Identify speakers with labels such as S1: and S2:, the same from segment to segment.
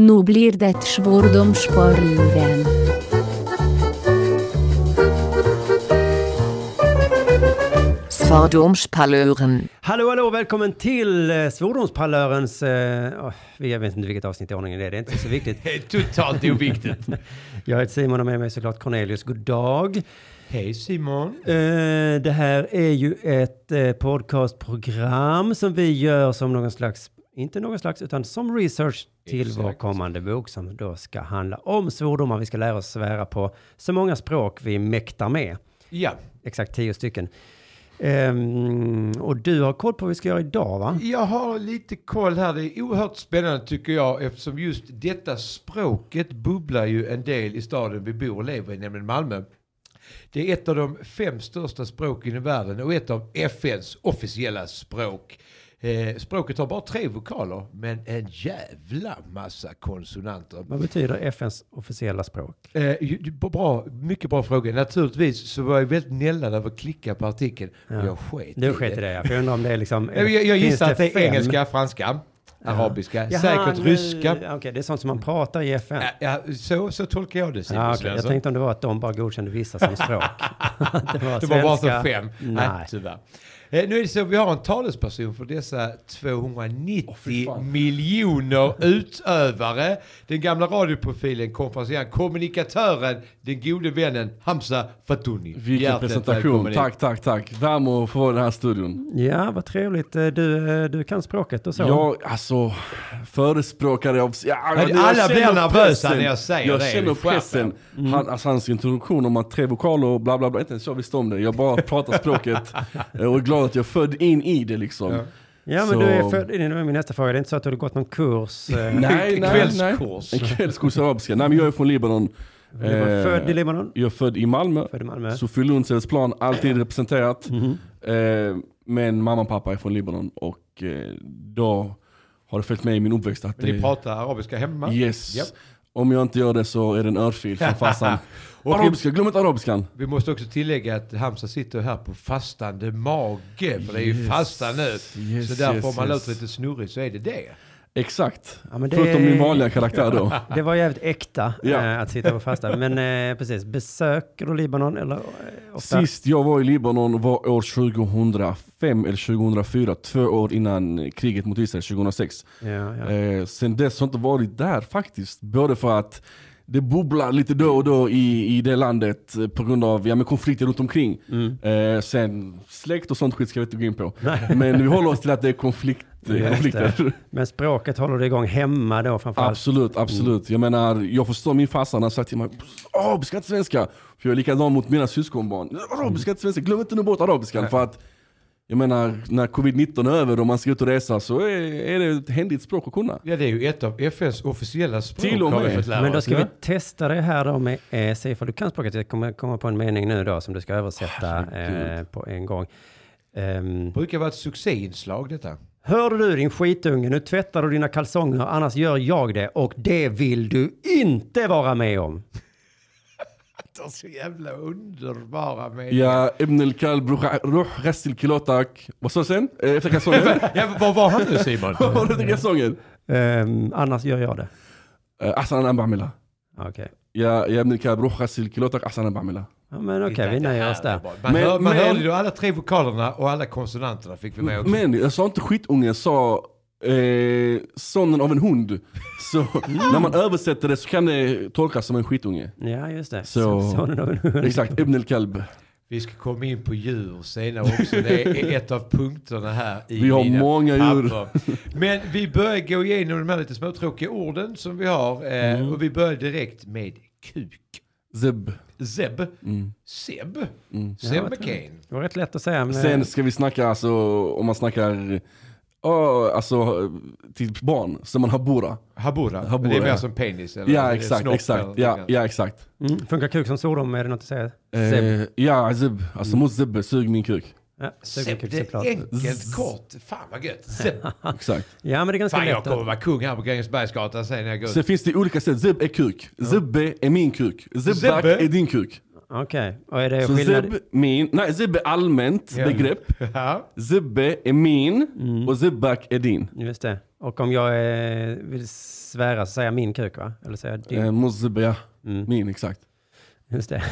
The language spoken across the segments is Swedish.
S1: Nu blir det svordomsparluren.
S2: Svordomspalören.
S3: Hallå, hallå, välkommen till eh, Svordomspalörens... Eh, åh, jag vet inte vilket avsnitt i ordningen det är, det är inte så viktigt.
S4: Det är totalt oviktigt.
S3: Jag heter Simon och med mig är såklart Cornelius. God dag.
S4: Hej Simon.
S3: Eh, det här är ju ett eh, podcastprogram som vi gör som någon slags, inte någon slags, utan som research till vår
S4: Exakt.
S3: kommande bok som då ska handla om svordomar. Vi ska lära oss svära på så många språk vi mäktar med.
S4: Ja,
S3: Exakt tio stycken. Ehm, och du har koll på vad vi ska göra idag, va?
S4: jag har lite koll här. Det är oerhört spännande tycker jag eftersom just detta språket bubblar ju en del i staden vi bor och lever i, nämligen Malmö. Det är ett av de fem största språken i världen och ett av FNs officiella språk. Eh, språket har bara tre vokaler men en jävla massa konsonanter.
S3: Vad betyder FNs officiella språk?
S4: Eh, ju- ju- bra, mycket bra fråga. Naturligtvis så var jag väldigt nällad över att klicka på artikeln.
S3: Ja.
S4: Jag sket
S3: Du sket i det, ja. för jag undrar om det är liksom...
S4: Jag, jag, jag
S3: finns
S4: gissar att det är
S3: fem?
S4: engelska, franska, arabiska,
S3: Jaha,
S4: säkert
S3: nu-
S4: ryska. Äh,
S3: Okej, det är sånt som man pratar i FN.
S4: Ja, ja, så, så tolkar jag det Simon
S3: Ja, okej. Jag
S4: Svensson.
S3: tänkte om det var att de bara godkände vissa som språk. det var,
S4: Det var bara
S3: svenska.
S4: som fem. Nej,
S3: Nej.
S4: tyvärr. Eh, nu är det så, vi har en talesperson för dessa 290 miljoner utövare. Den gamla radioprofilen, konferencieren, kommunikatören, den gode vännen Hamza Fatouni.
S5: Vilken
S4: Hjärtligt
S5: presentation.
S4: välkommen hit.
S5: Tack, tack, tack. Värmo för den här studion.
S3: Ja, vad trevligt. Eh, Du, eh, du kan språket och så.
S5: Jag, alltså, förespråkare av... Ja,
S4: Men
S5: jag
S4: alla blir
S5: känner
S4: nervösa
S5: pressen.
S4: när jag säger
S5: jag
S4: det.
S5: känner
S4: Du skärper
S5: pressen.
S4: Mm.
S5: Han, alltså, hans introduktion om att tre vokaler och bla bla bla, inte ens jag visste om det. Jag bara pratar språket eh, och är glad att jag född in i det liksom.
S3: ja, men
S5: så-
S3: du är född... Det var min nästa fråga. Det är inte så att du har gått någon kurs? eh,
S5: Nej, nej, nej.
S4: Kvällskurs.
S5: En kvällskurs i arabiska. Nej, men jag är från Libanon.
S3: Du var
S5: Eh,
S3: född i Libanon?
S5: Jag är född i Malmö.
S3: Född i Malmö?
S5: Sofie Lundsells plan, alltid representerat.
S3: Mhm.
S5: Eh, men mamma och pappa är från Libanon och eh, då har det följt med i min uppväxt att
S4: Ni pratar arabiska hemma?
S5: Yes.
S4: Japp.
S5: Om jag inte gör det så är det en örfil från farsan.
S4: Och-
S5: arabiska, glöm inte arabiskan.
S4: Vi måste också tillägga att Hamza sitter här på fastande mage, för det är ju
S5: Yes.
S4: fasta nu.
S5: Yes,
S4: så därför
S5: yes,
S4: om man
S5: yes.
S4: låter lite snurrig så är det det.
S5: Exakt.
S3: Ja, men det-
S5: Förutom min vanliga karaktär då.
S3: Det var jävligt äkta
S5: Ja.
S3: eh, att sitta på fasta. Men eh, precis, besöker du Libanon eller? eh, Ofta?
S5: Sist jag var i Libanon var år 2005 eller 2004, två år innan kriget mot Israel 2006.
S3: Ja, ja.
S5: Eh, sen dess har jag inte varit där faktiskt. Både för att det bubblar lite då och då i, i det landet eh, på grund av ja, men konflikter runt omkring.
S3: Mm.
S5: Eh, sen släkt och sånt skit ska vi inte gå in på. Men vi håller oss till att det är konflikt,
S3: Just det.
S5: konflikter.
S3: Men språket håller du igång hemma då framförallt?
S5: Absolut,
S3: Mm.
S5: absolut. Jag menar, jag förstår min farsa när han sagt till mig arabiska inte svenska. För jag är likadan mot mina syskonbarn. Arabiska inte svenska, glöm inte nu bort arabiskan. För att, jag menar, när covid-19 är över och man ska ut och resa så är, är det ett händigt språk att kunna.
S4: Ja, det är ju ett av FNs officiella språk
S5: Till och
S4: har vi
S5: med.
S4: fått lära
S3: Men då
S4: oss,
S3: ska vi
S4: va?
S3: testa det här då med, eh, se ifall du kan språket. Jag kommer komma på en mening nu då som du ska översätta eh,
S5: Herregud.
S3: på en gång. Ehm,
S4: brukar vara ett succéinslag detta.
S3: Hörde du din skitunge, nu tvättar du dina kalsonger, annars gör jag det och det vill du inte vara med om.
S4: Det är så jävla underbara meningar.
S5: Ja, Ibn al-Kalb, ruh- ruh restil kilotak. Vad sa du sen? Eh, Efter kalsongen?
S4: Ja, vad var han nu Simon?
S5: Vad var det efter kalsongen?
S3: Ehm, annars gör jag det.
S5: Eh, Ahsan ana ba'mila.
S3: Okej,
S5: Ja, ja Ibn al-Kalb, ruh restil kilotak, ahsan ana ba'mila.
S3: ja, men okej, vi
S4: Det
S3: nöjer
S4: här
S3: oss där.
S4: var bra. Man,
S5: Men-
S4: hör, man
S5: men-
S4: hörde ju alla tre vokalerna och alla konsonanterna fick vi med också.
S5: Men jag sa inte skitunge, jag sa eh, sonen av en hund. Så när man översätter det så kan det tolkas som en skitunge.
S3: Ja, just det.
S5: Så-
S3: Sonen av en hund.
S5: Exakt, Ibn al-Kalb.
S4: Vi ska komma in på djur senare också. Det är ett av punkterna här i
S5: Vi har
S4: mina
S5: många djur.
S4: papper. Men vi börjar gå igenom de här lite småtråkiga orden som vi har. eh,
S5: Mm.
S4: Och vi börjar direkt med kuk.
S5: Zeb.
S4: Zeb.
S5: Mm.
S4: Seb.
S5: Mm.
S3: Ja,
S4: Seb
S3: vad
S4: McCain.
S3: Det var rätt lätt att säga. Men,
S5: Sen ska vi snacka, alltså, om man snackar oh, alltså, till barn, så man har bora.
S4: Habura.
S5: Habura,
S4: Det är mer
S5: ja.
S4: som penis. Eller
S5: Ja
S4: eller
S5: exakt,
S4: snopp
S5: exakt.
S4: eller
S5: Ja,
S4: något
S5: ja exakt.
S3: mm, funkar kuk som svordom, är det något att säga? Zeb. Mm.
S5: Eh, ja, zeb. Alltså mot zebbe, sug min kuk.
S3: Ja, sug min
S4: Seb,
S3: kuk
S4: det är
S3: såklart.
S4: enkelt, kort. Fan vad gött. Seb.
S5: Exakt.
S3: Ja, men det är ganska
S4: Fan jag
S3: lätt.
S4: kommer
S3: att-
S4: vara kung här på Grängesbergsgatan sen när jag går ut.
S5: Sen finns det olika sätt. Zeb är kuk. Zebbe är min kuk. Zebbak
S4: Zebbe?
S5: är din kuk.
S3: Okej, och är det
S5: Så
S3: skillnad?
S5: Zeb, min. Nej, Zeb är allmänt
S4: Ja.
S5: begrepp.
S4: Ja.
S5: Zebbe är min
S3: Mm.
S5: och Zebbak är din.
S3: Just det. Och om jag eh, vill svära så säger jag min kuk va? Eller säger jag din?
S5: Eh, Mozebbe, ja.
S3: Mm.
S5: Min, exakt.
S3: Just det.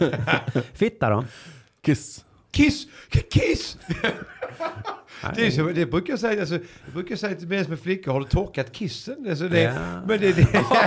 S3: Fitta då?
S5: Kiss.
S4: Kiss! K- Kiss! Det, är så, det brukar jag säga, alltså, jag brukar säga till män med flickor, har du torkat kissen? Alltså det,
S3: Ja.
S4: men det, det, ja,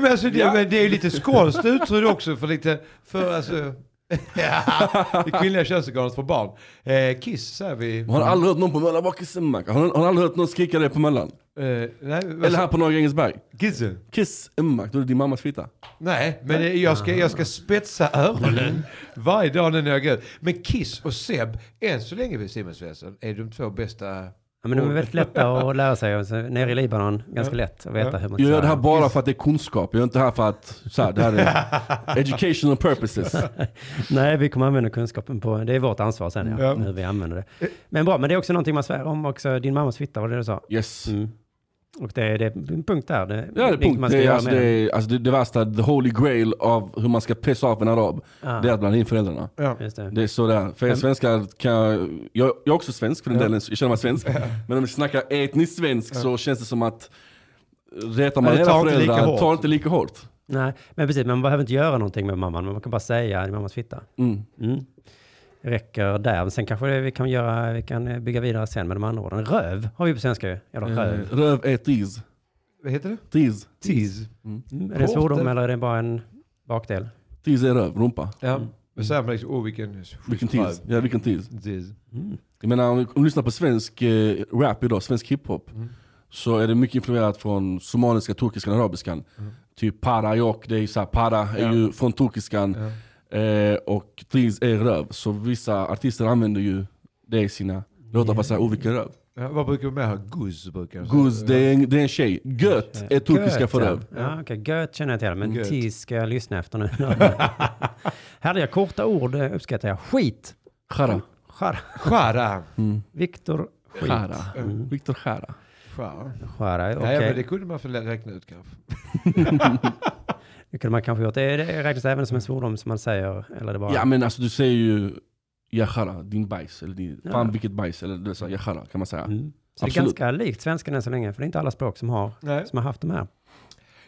S4: men alltså det, men det är ju lite skånskt uttryck också för lite, för alltså, ja, det kvinnliga könsorganet för barn. Eh, kiss säger vi.
S5: Har du aldrig hört någon på Mölla bak i Zebbak? Har, du- har du aldrig hört någon skrika det på Möllan?
S3: Alltså-
S4: Eh, nej, vad-
S5: Eller här på Norra Grängesberg?
S4: kissen.
S5: Kiss Emmak, då är det din mammas fitta.
S4: Nej, men eh, jag ska, jag ska spetsa öronen varje dag när jag går ut. Men Kiss och Seb, än så länge vid Simonsvensson, är de två bästa
S3: Ja, men de är väldigt lätta att lära sig. Och så Nere i Libanon, ganska lätt att veta
S4: Ja.
S3: hur man
S5: Jag gör det här
S3: svär.
S5: bara för att det är kunskap. Jag är inte här för att, så här, det här är educational purposes.
S3: Nej, vi kommer använda kunskapen på, det är vårt ansvar sen ja,
S4: Ja.
S3: hur vi använder det.
S5: Eh.
S3: Men bra, men det är också någonting man svär om också. Din mammas fitta var det du sa.
S5: Yes.
S3: Mm. Och det är, det är en punkt där. Det,
S5: Ja, det, är
S3: vilket
S5: punkt.
S3: man ska
S5: Det, är,
S3: göra
S5: alltså,
S3: med
S5: det,
S3: den.
S5: är, alltså, det, det värsta, the holy grail av hur man ska pissa av en arab,
S3: Ah.
S5: det är att blanda in föräldrarna.
S4: Ja.
S3: Just det.
S5: Det är så det är. För er svenskar kan jag, jag, jag är också svensk för den delen, så jag känner mig svensk. Men om vi snackar etnisk svensk så känns det som att retar
S4: Ja,
S5: man
S4: det
S5: era
S4: tar inte lika
S5: föräldrar,
S4: hårt.
S5: tar inte lika hårt.
S3: Nej, men precis, man behöver inte göra någonting med mamman, men man kan bara säga din mammas fitta.
S5: Mm.
S3: Mm. Räcker där. Men sen kanske det, vi kan göra, vi kan eh, bygga vidare sen med de andra orden. Röv har vi på svenska ju. Eller röv.
S5: Eh, Röv är tis.
S4: Vad heter det?
S5: Tis.
S4: Tease.
S3: Mm. Är det en
S4: kort,
S3: svordom
S4: eh.
S3: eller är det bara en bakdel?
S5: Tis är röv, rumpa.
S4: Ja. Men säger man liksom, åh vilken...
S5: Vilken tis. Ja, vilken tis.
S4: Tease.
S5: Jag menar om du lyssnar på svensk eh, rap idag, svensk hiphop.
S3: Mm.
S5: Så är det mycket influerat från somaliska, turkiskan, arabiskan.
S3: Mm.
S5: Typ para, yok, det är ju såhär, para är ju från turkiskan. Eh, och tris är röv. Så vissa artister använder ju det i sina låtar för att säga oh vilken röv.
S4: Ja, vad brukar vi mer ha? Guzz brukar jag säga.
S5: Guz, det är en, det är en tjej. Göt är turkiska
S3: Göt,
S5: för
S3: ja.
S5: röv.
S3: Ja, okej. Göt känner jag till, men
S4: Göt.
S3: tis ska jag lyssna efter nu. Hade jag korta ord eh, uppskattar jag. Skit.
S5: Chara.
S3: Skär.
S4: Chara.
S3: Viktor Skit.
S5: Chara. Viktor Chara.
S4: Chara.
S3: Skära,
S4: Ja, men det
S3: okej.
S4: kunde man få räkna ut kanske.
S3: Det kunde man kanske gjort. Det, det räknas även som en svordom som man säger. Eller det bara...
S5: Ja men alltså du säger ju ja chara, din bajs. Eller din, fan vilket bajs. Eller du säger ja chara kan man säga.
S3: Mm. Så det är
S5: Absolut.
S3: ganska likt svenskan än så länge, för det är inte alla språk som har,
S4: Nej.
S3: som har haft de här.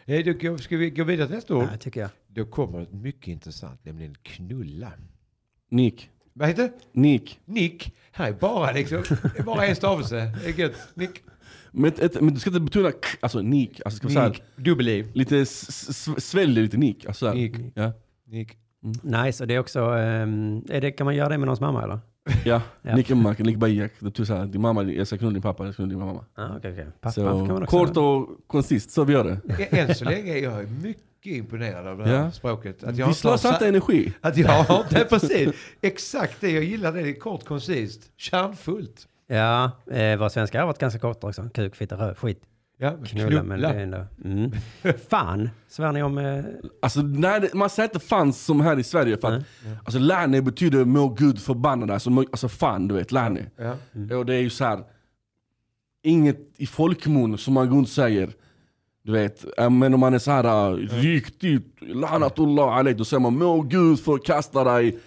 S4: Nej, Eh, då går- ska vi gå vidare till nästa ord?
S3: Nej, tycker jag.
S4: Då kommer ett mycket intressant, nämligen knulla.
S5: Nick.
S4: Vad heter det?
S5: Nick.
S4: Nick. Här är bara liksom, det är bara en stavelse. Det är gött. Nick.
S5: Men, ett, ett, men du ska inte betona k, alltså nik, alltså ska man säga
S4: Nick. Dubbel-i.
S5: lite s- s- s- sväljer lite nik. Alltså, så här.
S4: Nick.
S5: Ja.
S4: Nick.
S3: Nice, och det är också, ehm, är det, kan man göra det med någons mamma eller?
S5: ja.
S3: Ja.
S5: Nick Emmak, Nick Bajak. Det betyder såhär, din mamma, jag ska knulla din pappa, jag ska knulla din mamma.
S3: Ah, okay, okay. Pappa kan man
S5: så,
S3: också
S5: kort och koncist, så vi gör det.
S4: Ä- Än så länge är jag mycket imponerad av det här
S5: Ja.
S4: språket. Att jag
S5: Vi
S4: inte har
S5: slösar
S4: sa-
S5: inte energi.
S4: att jag inte, precis. Exakt det jag gillar, det Det är kort, koncist, kärnfullt.
S3: Ja, eh, våra svenskar har varit ganska korta också. Kuk, fitta, röv, skit,
S4: Ja, men
S3: knulla. Men det är ändå, mm. Fan, svär ni om... Eh,
S5: Alltså, nej, det- man säger inte fan som här i Sverige. För att, alltså, lärne betyder må gud förbannad. Alltså, må, alltså fan, du vet, lärne.
S4: Ja.
S5: Och det är ju så här. Inget i folkmun som man går runt och säger. Du vet, äh, men om man är så här äh, riktigt, lanatullah alaik, då säger man må gud förkasta dig.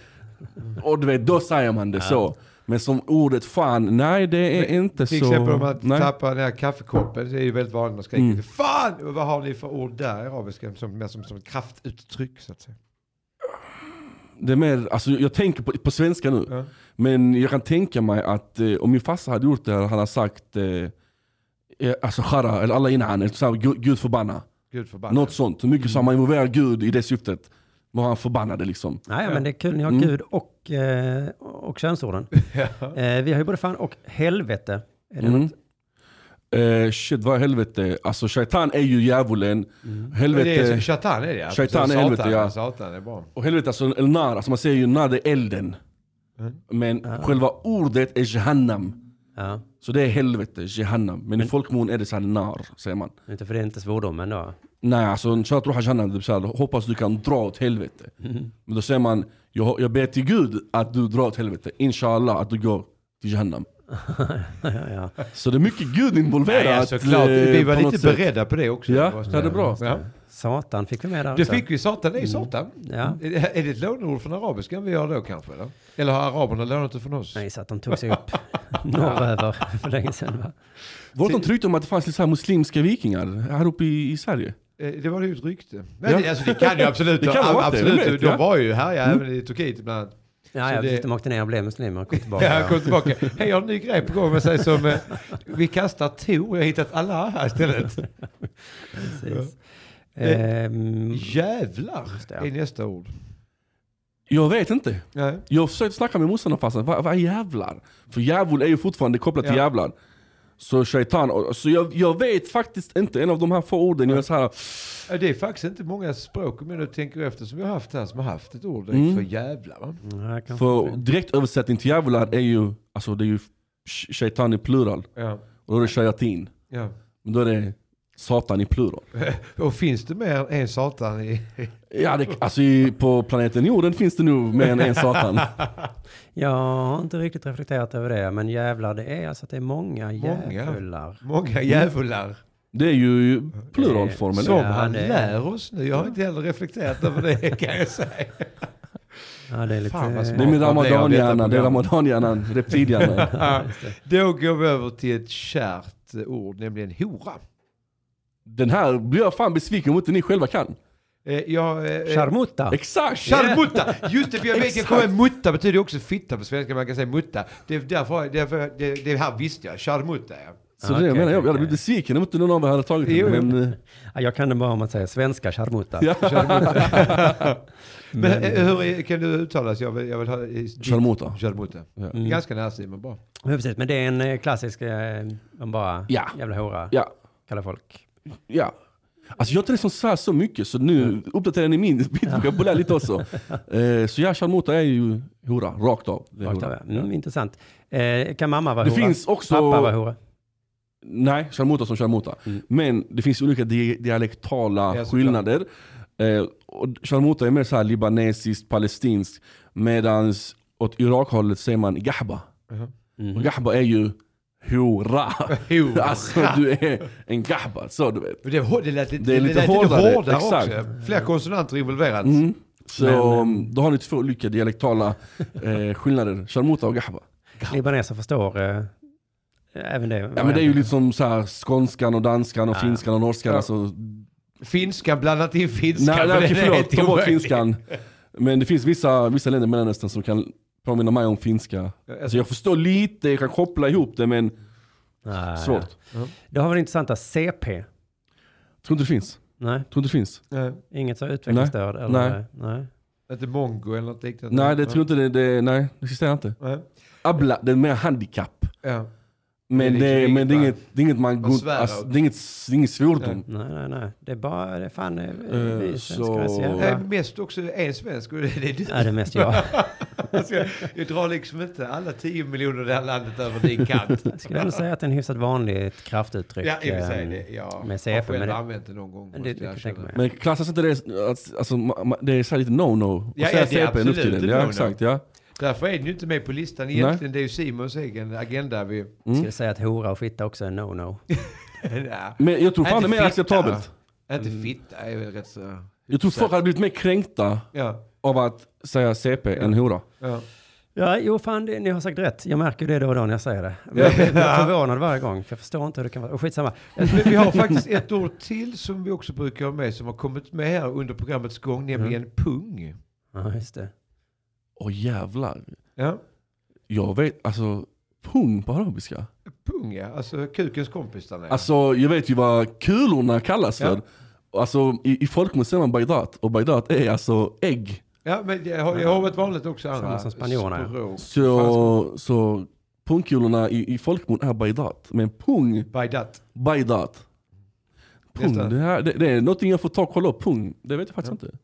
S5: Och du vet, då säger man det så. Men som ordet fan, nej det är inte
S4: Till
S5: så.
S4: exempel om man
S5: nej. Mm.
S4: tappar den här kaffekoppen, det är ju väldigt vanligt man skriker Fan! Och Vad har ni för ord där i arabiska? Som, mer som, som ett kraftuttryck så att säga.
S5: Det är mer, alltså jag tänker på, på svenska nu.
S4: Ja.
S5: Men jag kan tänka mig att eh, om min farsa hade gjort det, han hade sagt eh, eh, alltså chara, eller alla innan, eller så här, Gud Gud förbanna.
S4: Gud förbannat.
S5: Något sånt. Hur mycket så har
S4: Mm.
S5: man involverar Gud i det syftet. Vad han förbannade liksom.
S3: nej, men det är kul, ni
S4: Mm.
S3: har Gud och, eh, och könsorden. Eh, vi har ju både fan och helvete. Är det
S4: Mm.
S3: något?
S5: Eh, shit, vad är helvete? Alltså shaitan är ju djävulen. Helvete,
S4: Mm. Det är som shaitan är det ja.
S5: Shaitan är
S4: Satan,
S5: helvete, ja.
S4: Satan är bra.
S5: och helvete alltså, el nar, alltså man säger ju nar, det är elden.
S4: Mm.
S5: Men själva ordet är jehannam.
S3: Ja,
S5: Så det är helvete, jehannam. Men, i folkmun är det så här nar, säger man.
S3: inte för det är inte svordomen då.
S5: Nej, alltså en kör att ruha jannah, typ såhär, hoppas du kan dra åt helvete. Men då säger man, jag, jag ber till Gud att du drar åt helvete. Inshallah att du går till Jahannam.
S3: ja, ja.
S5: Så det är mycket Gud involverat.
S4: Ja, såklart.
S5: eh,
S4: Vi var
S5: på något
S4: lite
S5: sätt.
S4: beredda på det också.
S5: Ja,
S4: måste
S5: ja, det är
S4: jag
S5: bra. Mm.
S4: säga. Ja.
S3: Satan fick vi med där
S4: Du
S3: också.
S4: fick ju satan, det är ju satan.
S3: Ja.
S4: Är det- är det ett låneord från arabiskan vi har då kanske? Eller, eller har araberna lånat det från oss?
S3: Nej, så att de tog sig upp norröver för länge sedan. Va?
S5: Var det något rykte om att det fanns lite så här muslimska vikingar här uppe i, i Sverige?
S4: Eh, Det var ju ett rykte. Men
S5: Ja.
S4: det, alltså, det kan ju absolut.
S5: Det kan
S4: ab-
S5: vara det,
S4: absolut.
S5: jag Mm. vet,
S4: de
S5: ja.
S4: var ju här, ja, även i Turkiet bland annat.
S3: Ja, ja,
S4: Så det-
S3: precis, de åkte ner och blev muslimer och kom tillbaka.
S4: Ja, jag kom tillbaka. Hej, jag har en ny grej på gång med sig som eh, vi kastar to. Jag har hittat alla här istället.
S3: Precis. Ehm,
S4: Eh, Jävlar
S3: Just det, ja.
S4: är nästa ord.
S5: Jag vet inte.
S4: Nej.
S5: Jag försökte snacka med morsan och farsan, vad vad är jävlar? För djävul är ju fortfarande kopplat till
S4: Ja.
S5: djävlar. Så shaitan, och- så jag, jag vet faktiskt inte, en av de här få orden, jag är så här,
S4: Ja, Det är faktiskt inte många språk om jag nu tänker efter som vi har haft här som har haft ett ord
S5: Mm.
S4: för jävlar. Va?
S3: ja, kanske
S5: för
S3: inte.
S5: direkt översättning till djävlar är ju, alltså det är ju sh- shaitan i plural.
S4: Ja,
S5: Och då är det shayatin.
S4: ja.
S5: Men då är det satan i plural.
S4: Och finns det mer än en satan i...
S5: Ja, det, alltså i, på planeten jorden finns det nog mer än en satan.
S3: Jag har inte riktigt reflekterat över det, men jävlar, det är alltså att det är många
S4: Många.
S3: djävular.
S4: Många djävular.
S5: Det är ju pluralformen.
S4: Som
S3: Mm. Ja,
S4: han
S3: det-
S4: lär oss nu. Jag har inte heller reflekterat över det kan jag säga.
S3: Ja, det är lite... eh,
S4: Fan, vad
S5: Det är
S4: smart.
S5: min ramadanhjärna,
S4: Ja,
S5: det är ramadanhjärnan, reptilhjärnan.
S4: Då går vi över till ett kärt eh, ord, nämligen hora.
S5: Den här blir jag fan besviken om inte ni själva kan.
S4: Eh, jag, eh, eh,
S3: Charmutta!
S5: Exakt!
S4: Charmutta! Just det, för jag vet jag kommer ihåg, mutta betyder också fitta på svenska, man kan säga mutta. Det är därför, därför det, det här visste jag, charmutta ja.
S5: Så det är det jag
S3: Okej,
S5: menar, jag
S3: okej,
S5: hade blivit besviken om inte någon av er hade tagit
S4: Jo,
S5: det.
S4: jo.
S5: Men, eh,
S3: Ja, jag kan det bara om att säga svenska charmutta.
S5: Ja.
S4: Men eh, hur är- kan du uttalas? Jag vill, jag vill ha... eh, ditt-
S5: Charmutta.
S4: Charmutta.
S5: Ja.
S4: Mm. Ganska nära men bra.
S3: Men precis, men det är en eh, klassisk, eh, om bara
S5: Ja.
S3: jävla hora,
S5: ja,
S3: kallar folk.
S5: ja. Alltså jag har inte liksom svär så mycket så nu uppdaterar ni min min vokabulär lite också. Eh, Så ja, charmota är ju hora, rakt av. Det är
S3: Rakt
S5: hora.
S3: av, ja. mm, Intressant. Eh, kan mamma vara
S5: Det
S3: hora?
S5: finns också...
S3: Pappa vara hora?
S5: Nej, charmota som charmota.
S3: Mm.
S5: Men det finns olika di- dialektala
S4: Ja, såklart.
S5: skillnader. Eh, och charmota är mer så här libanesiskt, palestinskt. Medan åt Irakhållet säger man gahba.
S3: Mm.
S5: Och gahba är ju hora.
S4: Hora.
S5: alltså du är en gahba, så du vet.
S4: Men Det, hå- det lät lite,
S5: Det är lite
S4: lät
S5: hårdare,
S4: hårdare
S5: exakt.
S4: också. Fler konsonanter involverat.
S5: Mm. Så
S3: Men-
S5: då har ni två olika dialektala eh, skillnader. Charmota och gahba.
S3: Libaneser förstår eh, även det.
S5: Ja, men det är ju liksom så här skånskan och danskan och
S3: Ja.
S5: finskan och norskan.
S4: Ja.
S5: Alltså,
S4: Finskan blandat in finskan.
S5: Nej, nej
S4: för
S5: okej,
S4: det är
S5: förlåt,
S4: helt
S5: ta bort
S4: omöjligt.
S5: finskan. Men det finns vissa, vissa länder i Mellanöstern som kan påminna mig om finska. Alltså jag förstår lite, jag kan koppla ihop det men
S3: Ah,
S5: svårt.
S3: Ja. Då har vi det intressanta CP.
S5: Tror inte det finns.
S3: Nej,
S5: Tror inte det finns.
S4: Nej,
S3: inget så utvecklingsstörd? eller?
S5: Nej.
S3: Nej.
S4: Eh, Inte mongo eller något liknande.
S5: Nej, det tror inte det, det nej, det existerar inte.
S4: Nej.
S5: Abla, det är mer handikapp.
S4: Ja.
S5: Men
S4: Det
S5: det,
S4: är krig,
S5: men det, är
S4: va?
S5: inget, det är inget man
S4: Man
S5: går,
S4: svär
S5: alltså,
S4: åt.
S5: det är inget, det är inget svordom.
S3: Nej, nej, nej. Det är bara, det är fan, eh,
S5: Eh,
S3: vi svenskar är så
S5: så-
S4: Nej,
S3: jävla...
S4: Eh, mest också en svensk och det är du.
S3: Ja, det är mest jag.
S4: Alltså, jag, jag drar liksom inte alla 10 miljoner i det här landet över din kant.
S3: Jag skulle ändå säga att det är en hyfsat vanligt kraftuttryck.
S4: Ja, i och för sig.
S3: eh,
S4: det- Jag
S3: med
S4: har
S3: CF,
S4: själv
S3: men det-
S4: använt det någon gång.
S3: det-
S4: måste
S3: det
S4: jag
S3: kan jag tänka
S4: erkänna.
S3: mig.
S5: Men klassas inte det, alltså, alltså, ma- ma- det är så här lite no-no.
S4: Ja,
S5: Att
S4: ja,
S5: säga
S4: det är
S5: CP nu för
S4: absolut
S5: tiden.
S4: ett
S5: Ja,
S4: no-no.
S5: exakt, ja.
S4: Därför är den ju inte med på listan egentligen. Det är ju Simons egen agenda. Vi...
S3: Jag
S5: Mm.
S3: skulle säga att hora och fitta också är no-no.
S4: Nja.
S5: Men jag tror fan
S4: Inte
S5: det är mer
S4: fitta.
S5: acceptabelt.
S4: Inte
S3: Mm.
S4: fitta är väl rätt så...
S5: Jag tror folk hade blivit mer kränkta
S4: Ja,
S5: av att säga CP än hora.
S4: ja.
S3: Ja, jo fan, det, ni har sagt rätt. Jag märker ju det då och då när jag säger det. Men jag blir förvånad varje gång, för jag förstår inte hur det kan vara. Och skitsamma.
S4: Men vi har faktiskt ett ord till som vi också brukar ha med som har kommit med här under programmets gång, nämligen
S3: Mm.
S4: pung.
S3: Ja, just det.
S5: Åh jävlar.
S4: Ja,
S5: Jag vet, alltså pung på arabiska.
S4: pung ja. Alltså kukens kompis där nere.
S5: Alltså jag vet ju vad kulorna kallas
S4: Ja.
S5: för. Alltså i, i folkmun säger man bajdat och bajdat är alltså ägg.
S4: Ja, men det har, det har varit vanligt också andra.
S3: Samma som spanjorerna, ja.
S4: språk.
S5: Så, så pungkulorna i, i folkmun är bajdat. Men pung,
S4: Bajdat.
S5: bajdat. Pung,
S4: Nästa.
S5: det, här, det, det är någonting jag får ta och kolla upp. Pung, det vet jag faktiskt inte.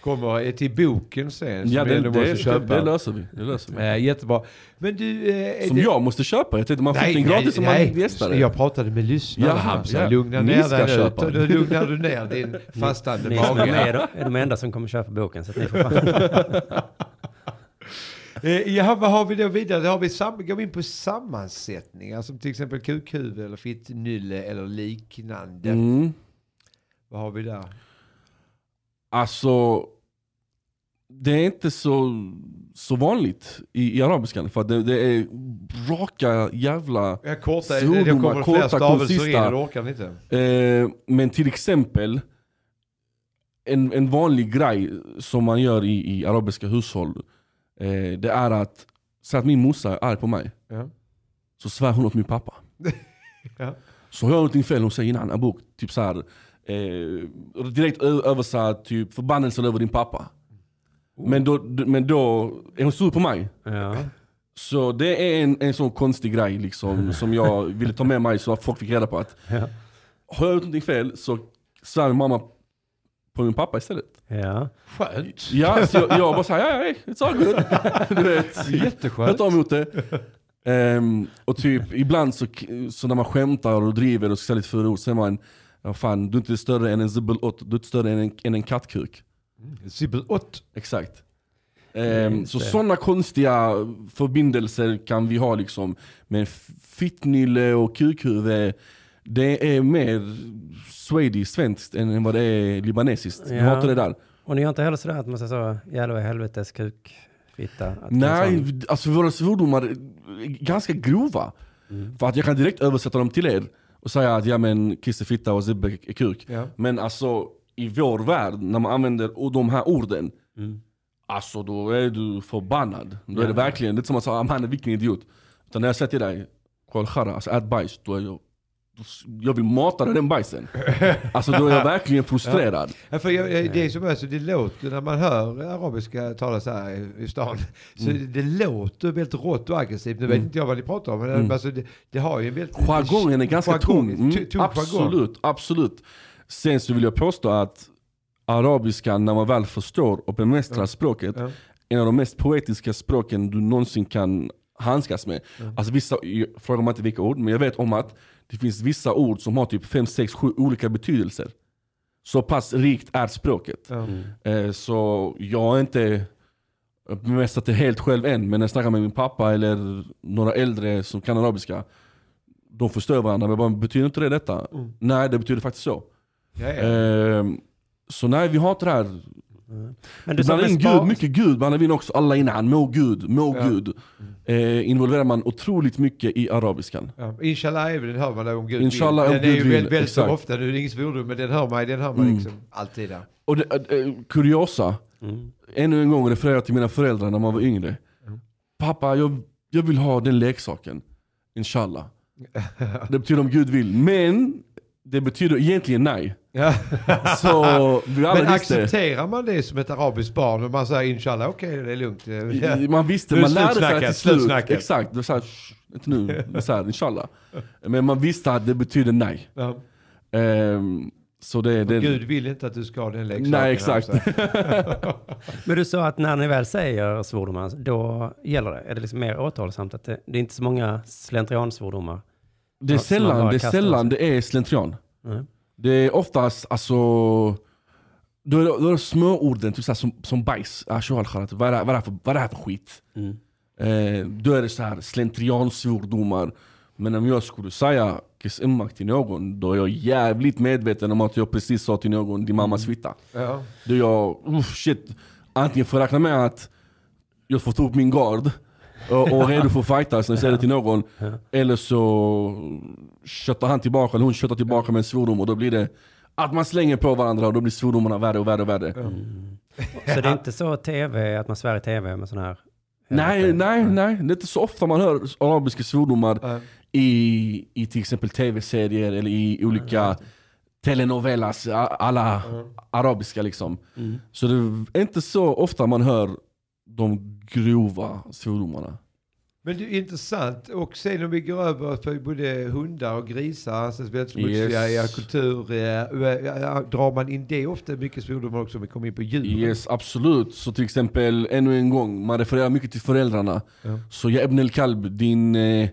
S4: Kommer till boken sen. som
S5: Ja,
S4: vi
S5: det,
S4: ändå
S5: det,
S4: måste
S5: det,
S4: köpa.
S5: det löser vi. Det löser vi.
S4: Eh, jättebra. Men du... eh, är
S5: Som
S4: det...
S5: jag måste köpa. Jag tänkte man fick
S4: Nej,
S5: den gratis om man
S4: nej,
S5: gästade.
S4: nej. Jag pratade med lyssnarna
S5: Jaha,
S4: Hamza.
S5: ja.
S4: Lugna
S5: Ni
S4: ner
S5: ska
S4: dig nu.
S5: köpa.
S4: Ta- Då lugnar du ner din fastande
S3: Ni som är
S4: mage.
S3: med är de enda som kommer köpa boken, så att ni får fan...
S4: Eh, Ja, vad har vi då vidare? Då har vi sam- går vi in på sammansättningar som till exempel kukhuvud eller fittnylle eller liknande.
S5: Mm.
S4: Vad har vi där?
S5: Alltså, det är inte så, så vanligt i, i arabiskan. För att det, det är raka jävla...
S4: Ja, korta, det
S5: Svordomar,
S4: kommer fler
S5: korta,
S4: stavelser in
S5: konsista.
S4: och du orkar inte.
S5: Eh, men till exempel, en, en vanlig grej som man gör i, i arabiska hushåll, eh, det är att, säg att min morsa är arg på mig,
S4: Ja.
S5: så svär hon åt min pappa.
S4: Ja.
S5: Så har jag någonting fel, hon säger i en annan bok, typ så här, eh, direkt ö- översatt, typ förbannelsen över din pappa. Men, då, d- men då är hon sur på mig.
S3: Ja.
S5: Så det är en, en sån konstig grej liksom, som jag ville ta med mig så att folk fick reda på att
S3: Ja.
S5: har jag gjort någonting fel så svär min mamma på min pappa istället.
S3: ja.
S4: Skönt.
S5: Ja, så jag, jag bara såhär, ja, ja, it's all good. Du vet, jag
S4: Jätteskönt.
S5: tar emot det. Ehm, och typ ibland så, så när man skämtar och driver och ska säga lite fula ord så är man, ja, fan du är inte större än en zibbelott, du är inte större än en, än en kattkuk.
S4: Sibbel 8.
S5: Exakt. Ehm,
S3: Just
S5: så
S3: det.
S5: sådana konstiga förbindelser kan vi ha liksom. Men fittnylle och kukhuvud, det är mer swedish, svenskt än än vad det är libanesiskt. Vi
S3: Ja.
S5: har inte det där.
S3: Och ni har inte heller sådär att man säger så, jävla i helvetes kukfitta. Att det är
S5: Nej,
S3: sån-
S5: alltså våra svordomar är ganska grova.
S3: Mm.
S5: För att jag kan direkt översätta dem till er och säga att ja men kiss är fitta och zibbe är kuk.
S4: Ja.
S5: Men alltså i vår värld, när man använder o- de här orden,
S3: Mm.
S5: alltså då är du förbannad. Då är det verkligen, det är inte som att säga att han är vilken idiot. Utan när jag säger till dig, kolla chara, alltså ät bajs, då är jag, då s- jag vill mata dig den bajsen. alltså då är jag verkligen frustrerad.
S4: Ja, för jag, jag, det är som är så, det låter när man hör arabiska talas här i- i stan. Så
S5: Mm.
S4: det, det låter väldigt rått och aggressivt. Nu vet inte jag vad ni pratar om. Men alltså, det, det har ju en väldigt...
S5: Mm. Jargongen är ganska
S4: Jargong,
S5: tung. Mm,
S4: tu- tung jargong.
S5: absolut, absolut. Sen så vill jag påstå att arabiskan, när man väl förstår och bemästrar språket,
S4: Ja.
S5: en av de mest poetiska språken du någonsin kan handskas med. Alltså vissa, jag frågar mig inte vilka ord, men jag vet om att det finns vissa ord som har typ 5, 6, 7 olika betydelser. Så pass rikt är språket.
S4: Ja.
S5: Eh, Så jag har inte bemästrat det helt själv än. Men när jag snackar med min pappa eller några äldre som kan arabiska. De förstår varandra. Men jag bara, betyder inte det detta? Nej, det betyder faktiskt så.
S4: Ja, ja.
S5: Ehm, Så nej, vi har inte det här.
S3: Men
S5: Du
S3: sa
S5: blandar
S3: med
S5: in
S3: spa-
S5: Gud, mycket Gud blandar vi in också. Alla innan, må Gud, må
S4: Ja.
S5: Gud. Eh, Involverar man otroligt mycket i arabiskan.
S4: Ja. Inshallah även, den hör man om Gud
S5: Inshallah, om
S4: vill. Den är
S5: Gud
S4: ju
S5: vill,
S4: väldigt, väldigt så
S5: exakt.
S4: ofta, nu är det ingen svordom, men den hör man, den hör man
S5: Mm.
S4: liksom alltid där.
S5: Och det, eh, kuriosa,
S3: Mm.
S5: ännu en gång refererar jag till mina föräldrar när man var yngre.
S4: Mm.
S5: Pappa, jag, jag vill ha den leksaken. Inshallah. Det betyder om Gud vill. Men det betyder egentligen nej.
S4: Ja.
S5: Så vi alla
S4: Men
S5: visste.
S4: accepterar man det som ett arabiskt barn och man säger inshallah, okej det är lugnt. Ja.
S5: Man visste,
S4: Nu är
S5: man lärde sig
S4: slutsnacket,
S5: till slut.
S4: slutsnacket.
S5: Exakt, det var såhär, inte nu, det var så här, inshallah. Men man visste att det betyder nej.
S4: Ja.
S5: Ehm, så det, det
S4: Gud vill inte att du ska ha den leksaken.
S5: Nej, exakt.
S4: alltså.
S3: Men du sa att när ni väl säger svordomar, då gäller det? Är det liksom mer återhållsamt? Att det, det är inte så många slentriansvordomar?
S5: Det är
S3: Ja, så man bara
S5: sällan, det, är
S3: kastar
S5: sällan
S3: sig.
S5: det är slentrian.
S3: Mm.
S5: Det är oftast alltså... Då är det, då är det småorden, typ så här, som, som bajs. Ah, tjohal, kharat. Vad är det här- vad är det här för- vad är det här för skit?
S3: Mm.
S5: Eh, då är det så här slentriansvordomar. Men om jag skulle säga kiss emmak till någon, då är jag jävligt medveten om att jag precis sa till någon din
S3: Mm.
S5: mammas fitta.
S4: Ja.
S5: Då är jag, uff shit. Antingen får jag räkna med att jag får ta upp min gard och, och är redo för att fightas när jag säger det till någon. Eller så köttar han tillbaka, eller hon köttar tillbaka med en svordom och då blir det att man slänger på varandra och då blir svordomarna värre och värre och värre.
S3: Så det är inte så tv, att man svär i tv med sån här?
S5: Nej,
S3: helvete?
S5: nej, nej. Det är inte så ofta man hör arabiska svordomar
S4: Ja.
S5: i, i till exempel tv-serier eller i olika telenovelas, a- alla arabiska liksom.
S4: Mm.
S5: Så det är inte så ofta man hör de grova svordomarna.
S4: Men det är intressant. Och sen om vi går över på både hundar och grisar, anses väldigt smutsiga
S5: Yes.
S4: i kultur. eh, eh, Drar man in det ofta mycket svordomar också om vi kommer in på djur?
S5: Yes, absolut. Så till exempel, ännu en gång, man refererar mycket till föräldrarna.
S4: Ja.
S5: Så jag Ebnel Kalb, din... Eh,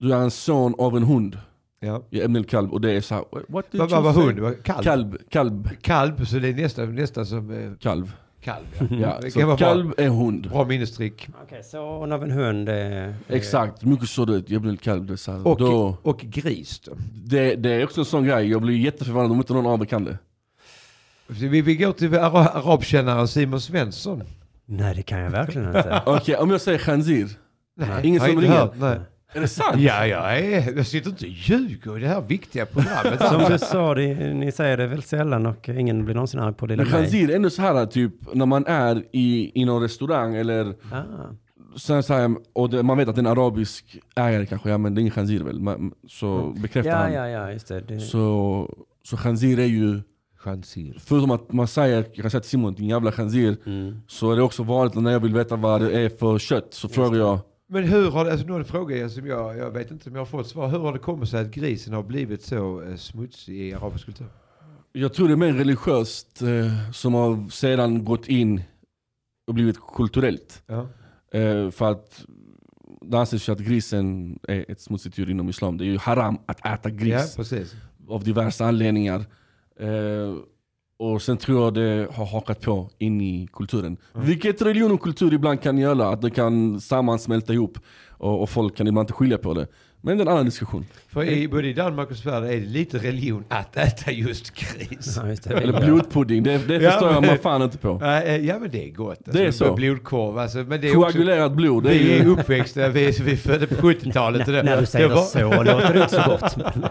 S5: du är en son av en hund.
S4: Ja.
S5: Jag Ebnel Kalb, och det är så här, what did
S4: Vad
S5: you
S4: vad var
S5: say?
S4: hund? Vad- Kalv?
S5: Kalb, kalb,
S4: Kalv, så det är nästan, nästan som eh,
S5: kalv.
S4: kalv. Ja.
S5: Ja,
S4: Det kan vara bra.
S5: Mm. så
S4: Eh.
S5: kalv är hund.
S4: Bra minnestrick.
S3: Okej, son av en hund. eh,
S5: Exakt, mycket så det jag blir lite kall. Det är, så här.
S4: Och,
S5: Då,
S4: och gris då.
S5: det, det är också en sån grej, jag blir jätteförvånad om inte någon av er kan det.
S4: Vi, vi går till ara- arabkännaren Simon Svensson.
S3: Nej, det kan jag verkligen inte.
S5: Okej, om jag säger Khanzir. Ingen
S4: har
S5: som
S4: inte
S5: ringer.
S4: hört, nej.
S5: Är det sant?
S4: Ja, jag, är, jag sitter inte och ljuger i det här viktiga programmet.
S3: Som du sa, det, ni säger det väl sällan och ingen blir någonsin arg på det.
S5: Men
S3: eller mig.
S5: Khanzir är ändå så här typ när man är i, i någon restaurang eller
S3: Ah.
S5: så här, så här, och det, man vet att det är en arabisk ägare kanske, ja men det är ingen Khanzir väl? Man, så bekräftar
S3: Ja,
S5: han.
S3: ja, ja, just det. det
S5: Så, så Khanzir är ju,
S4: Chansir.
S5: förutom att man säger, jag kan säga till Simon din jävla Khanzir,
S3: Mm.
S5: så är det också vanligt när jag vill veta vad det är för kött så frågar jag.
S4: Men hur har det, alltså någon fråga är som jag, jag vet inte om jag har fått svar. Hur har det kommit sig att grisen har blivit så eh, smutsig i arabisk kultur?
S5: Jag tror det är mer religiöst eh, som har sedan gått in och blivit kulturellt.
S4: Ja.
S5: Eh, för att det anses ju att grisen är ett smutsigt djur inom islam. Det är ju haram att äta
S4: ja,
S5: gris
S4: precis.
S5: av diverse anledningar. Eh, och sen tror jag det har hakat på in i kulturen. Vilket religion och kultur ibland kan göra, att det kan sammansmälta ihop. Och, och folk kan ibland inte skilja på det. Men det är en annan diskussion.
S4: För i, både i Danmark och Sverige är det lite religion att äta just gris.
S3: ja, just det.
S5: Eller blodpudding, det, det
S4: Ja,
S5: förstår jag
S4: men-
S5: man fan inte på.
S4: Nej, eh, Ja men det är gott. Alltså,
S5: Det är så.
S4: Blodkorv alltså. Men det är också,
S5: Koagulerat blod, det är
S4: vi
S5: ju...
S4: är uppväxta, vi, vi är födda på 70-talet. och det-
S3: När, när du säger
S4: det var-
S3: så låter det inte så gott. Men,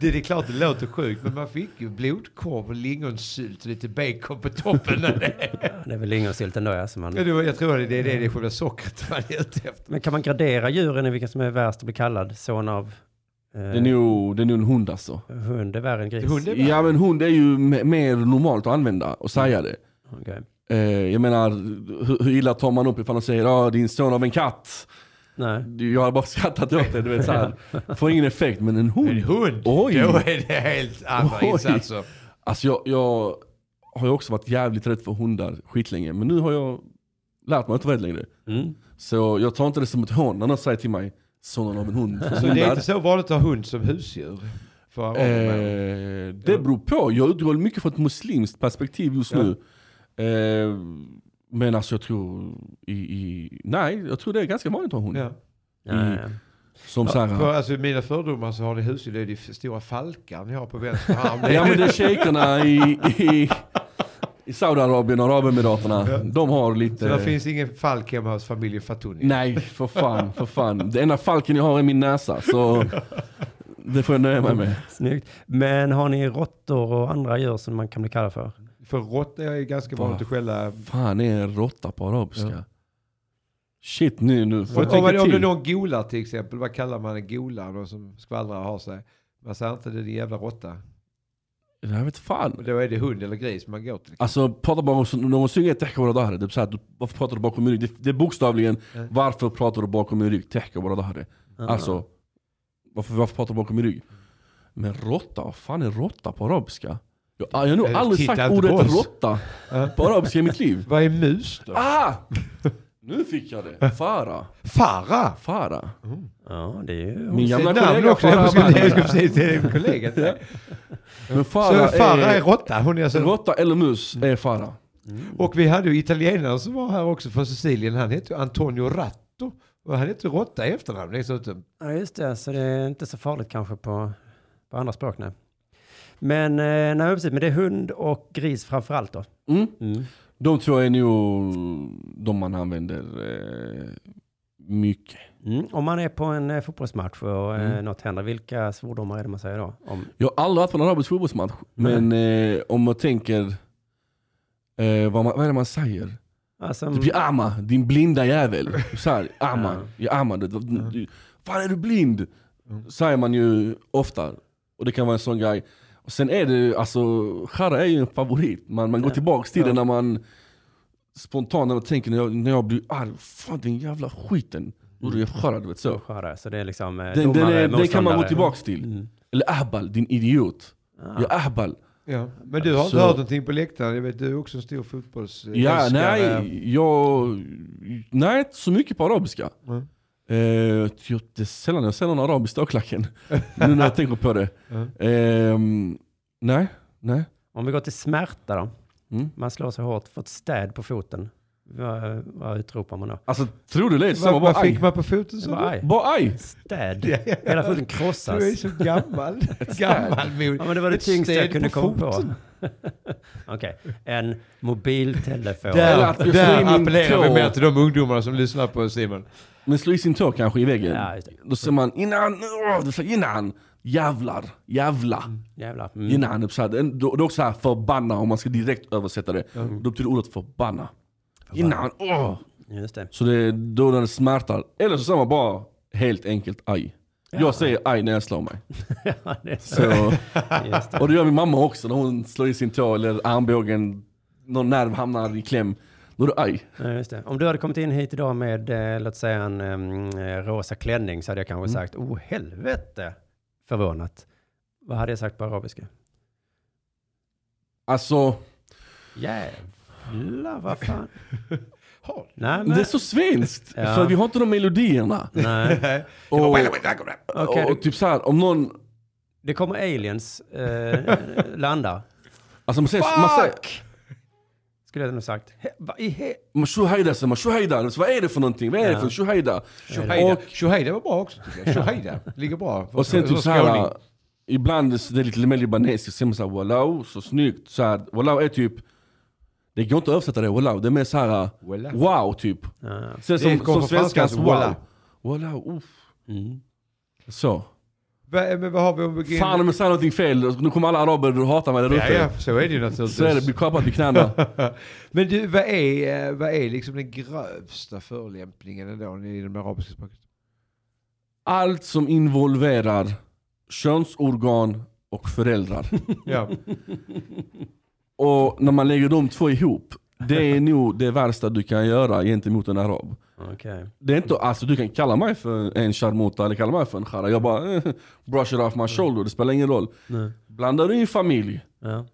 S4: Det, det är klart det låter sjukt men man fick ju blodkorv och lingonsylt och lite bacon på toppen.
S3: det är väl lingonsylt ändå. Alltså man,
S4: Ja, det var- jag tror det är det, det är det själva sockret man är ute efter.
S3: men kan man gradera djuren i vilka som är värst att bli kallad son av eh,
S5: Det är nog, det är nog en hund alltså.
S3: hund? är värre än gris.
S4: Hund är
S5: Ja men hund är ju me- mer normalt att använda och säga det.
S3: Okej.
S5: Eh, jag menar, hur, hur illa tar man upp ifall de säger ah, din son av en katt?
S3: Nej.
S5: Jag har bara skrattat åt det, du vet såhär. Får ingen effekt, men en
S4: En
S5: hund?
S4: hund,
S5: Oj.
S4: då är det helt andra
S5: Oj.
S4: insatser.
S5: Alltså jag, jag har ju också varit jävligt rädd för hundar skitlänge, men nu har jag lärt mig att vara rädd längre.
S3: Mm.
S5: Så jag tar inte det som ett hån när någon säger till mig, sonen av en hund.
S4: Så det är inte så vanligt att ha hund som husdjur? För araber.
S5: Eh, det beror på. Jag utgår mycket från ett muslimskt perspektiv just nu. Eh, men alltså jag tror... I, i, nej, jag tror det är ganska vanligt att ha hund.
S4: ja.
S5: Mm.
S3: Nej.
S5: Som så här,
S4: För alltså, i mina fördomar så har ni husdjur, det är de stora falkar ni har på vänster arm. Det är-
S5: ja men det är shejkerna i, i, i Saudiarabien och Arabemiraterna. De har
S4: så
S5: lite...
S4: det finns ingen falk hemma hos familjen Fatuni.
S5: Nej, för fan, för fan. Den enda falken jag har är min näsa. Så det får jag nöja mig med.
S3: Snyggt. Men har ni råttor och andra djur som man kan bli kallad för?
S4: För råttor är ju ganska vanligt
S5: Ah.
S4: att skälla.
S5: Fan är en råtta på arabiska? Shit nu, nu får
S4: Om,
S5: jag tänka
S4: om,
S5: till.
S4: om det är någon golar till exempel, vad kallar man en golare då som skvallrar och har sig? Man säger inte det är din jävla råtta.
S5: Det här vet fan.
S4: Och Då är det hund eller gris man går till.
S5: Alltså prata bakom, när man synger Tehka våra typ dagar, det är såhär, varför pratar du bakom min rygg? Det, det är bokstavligen,
S4: Ja.
S5: varför pratar du bakom min rygg? Tehka våra dagar. Alltså, varför, varför pratar du bakom min rygg? Men råtta, vad fan är råtta på arabiska? Jag, jag har nog
S4: Eh,
S5: aldrig
S4: titta
S5: sagt
S4: inte på
S5: ordet
S4: oss.
S5: råtta
S4: Ja.
S5: på arabiska i mitt liv.
S4: Vad är mus då?
S5: Ah! Nu fick jag det! Fara,
S4: Farah!
S5: Fara.
S3: Ja, det är ju...
S5: Min
S4: Det är
S5: gamla
S4: namn
S5: kollega
S4: också, jag
S5: Farah
S4: skulle jag
S5: Abadi.
S4: skulle säga till din kollega. till dig.
S5: Men
S4: Så
S5: Fara
S4: Farah är
S5: är...
S4: råtta, hon är alltså...
S5: Råtta eller mus är Fara.
S4: Och vi hade ju italienaren som var här också från Sicilien, han hette ju Antonio Ratto. Och han hette råtta i efternamn dessutom.
S3: Ja, just det. Så det är inte så farligt kanske på, på andra språk, nej. Men, eh, nej, precis, men det är hund och gris framför allt då.
S5: Mm.
S3: Mm.
S5: De tror jag är nog de man använder eh, mycket.
S3: Mm. Om man är på en eh, fotbollsmatch och eh,
S5: Mm.
S3: något händer, vilka svordomar är det man säger då? Om,
S5: Jag har aldrig varit på en arabisk fotbollsmatch, men eh, om jag tänker, eh, vad, man, vad är det man säger?
S3: alltså,
S5: Typ ja ama, din blinda jävel. Så här, ama, ja Mm. ama. Du, du, du, fan är du blind? Säger man ju ofta, och det kan vara en sån grej. Och sen är det, alltså, Chara är ju en favorit. Man, man går tillbaks till det när man spontant när man tänker, när jag, när jag blir arg, fan den jävla skiten. Då är det Chara, du vet så.
S3: Skörare, så det är liksom eh,
S5: Den, den,
S3: domare,
S5: är, den kan man gå
S3: motståndare.
S5: tillbaks till.
S3: Mm.
S5: Eller ahbal, din idiot. Ja, ahbal.
S4: Ja. Men du har inte
S5: Så-
S4: hört någonting på läktaren, jag vet du är också en stor fotbolls...
S5: Ja,
S4: älskare.
S5: nej, jag... Nej, inte så mycket på arabiska.
S4: Mm.
S5: Eh, jag- det är sällan jag ser någon arabisk ståklacken. nu när jag tänker på det.
S4: Mm.
S5: Ehm, nej, nej.
S3: Om vi går till smärta då.
S5: Mm.
S3: Man slår sig hårt, får ett städ på foten. Vad, vad utropar man då?
S5: Alltså tror du det?
S4: Vad,
S5: Samma,
S4: vad
S5: bara
S4: fick
S5: aj.
S4: man på foten?
S3: Det
S4: sa
S3: var
S4: du?
S3: aj.
S5: Bara aj.
S3: Städ.
S4: Ja, ja.
S3: Hela foten krossas.
S4: Du är så
S5: alltså.
S4: gammal. Gammalmodig.
S3: Ja, men det var det
S4: Ett
S3: tyngsta jag
S4: städ
S3: kunde
S4: på
S3: komma på.
S4: foten.
S3: Okej, en mobiltelefon.
S5: Eller
S4: Där,
S5: att vi får in
S4: där
S5: en
S4: appellerar vi
S5: tå.
S4: mer till de ungdomarna som lyssnar på Simon.
S5: Men slå i sin tå kanske i väggen.
S3: Ja, just det.
S5: Då ser man innan, åh, du säger innan. Jävlar, jävla,
S3: Jävlar. Mm.
S5: innan. Typ så här. Det är det är också så här förbanna om man ska direkt översätta det. Då betyder ordet förbanna. Innan, åh.
S3: Just det.
S5: Så det är då när det smärtar. Eller så säger man bara helt enkelt aj. Jag säger aj när jag slår mig.
S3: Ja, det är så.
S5: Så,
S3: Just det.
S5: och det gör min mamma också när hon slår i sin tå eller armbågen, någon nerv hamnar i kläm. Då är det aj.
S3: Ja, just det. Om du hade kommit in hit idag med, eh, låt säga en em, eh, rosa klänning så hade jag kanske sagt, oh helvete, förvånat. Vad hade jag sagt på arabiska?
S5: Alltså,
S3: Jävlar, vad fan.
S4: Har
S3: Nej, men...
S5: det är så svenskt.
S3: Ja.
S5: För vi har inte de melodierna.
S3: Nej.
S4: Nej.
S5: Och,
S3: Okej.
S5: och typ såhär, om någon...
S3: Det kommer aliens eh, landa,
S5: Alltså man säger... Man säger
S3: skulle jag nog sagt. He, va, i he,
S5: man shuhaida säger man, shuhaida. Så Vad är det för någonting? Vad är det
S3: Ja.
S5: för shuhaida?
S4: Shohaida.
S5: Och-
S4: Shohaida var bra också tycker jag. Shohaida ligger bra.
S5: Och sen
S4: För-
S5: typ
S4: för
S5: såhär,
S4: skåning.
S5: ibland så det är lite mer libanesiskt, säger man såhär walao, så snyggt. Såhär, walao är typ, det går inte att översätta det walao, det är mer såhär
S4: Walao.
S5: wow typ.
S3: Ja.
S5: Sen
S4: Det
S5: som,
S4: kommer
S5: som
S4: från franskans
S5: svenskans wow.
S4: walao.
S5: Walao, uff.
S3: mm.
S5: Så.
S4: Va- Men vad har vi om begrepp?
S5: Fan om jag säger någonting fel, nu kommer alla araber hata mig där
S4: Ja,
S5: ute.
S4: ja, så är det ju naturligtvis.
S5: Så är det, blir kapad vid knäna.
S4: Men du, vad är, eh, vad är liksom den grövsta förolämpningen ändå i det arabiska språket?
S5: Allt som involverar könsorgan och föräldrar.
S4: Ja.
S5: Och när man lägger de två ihop, det är nog det värsta du kan göra gentemot en arab.
S3: Okej.
S5: Det är inte, alltså du kan kalla mig för en charmota eller kalla mig för en chara. Jag bara eh, brush it off my shoulder, det spelar ingen roll.
S3: Nej.
S5: Blandar du in familj,
S3: Ja.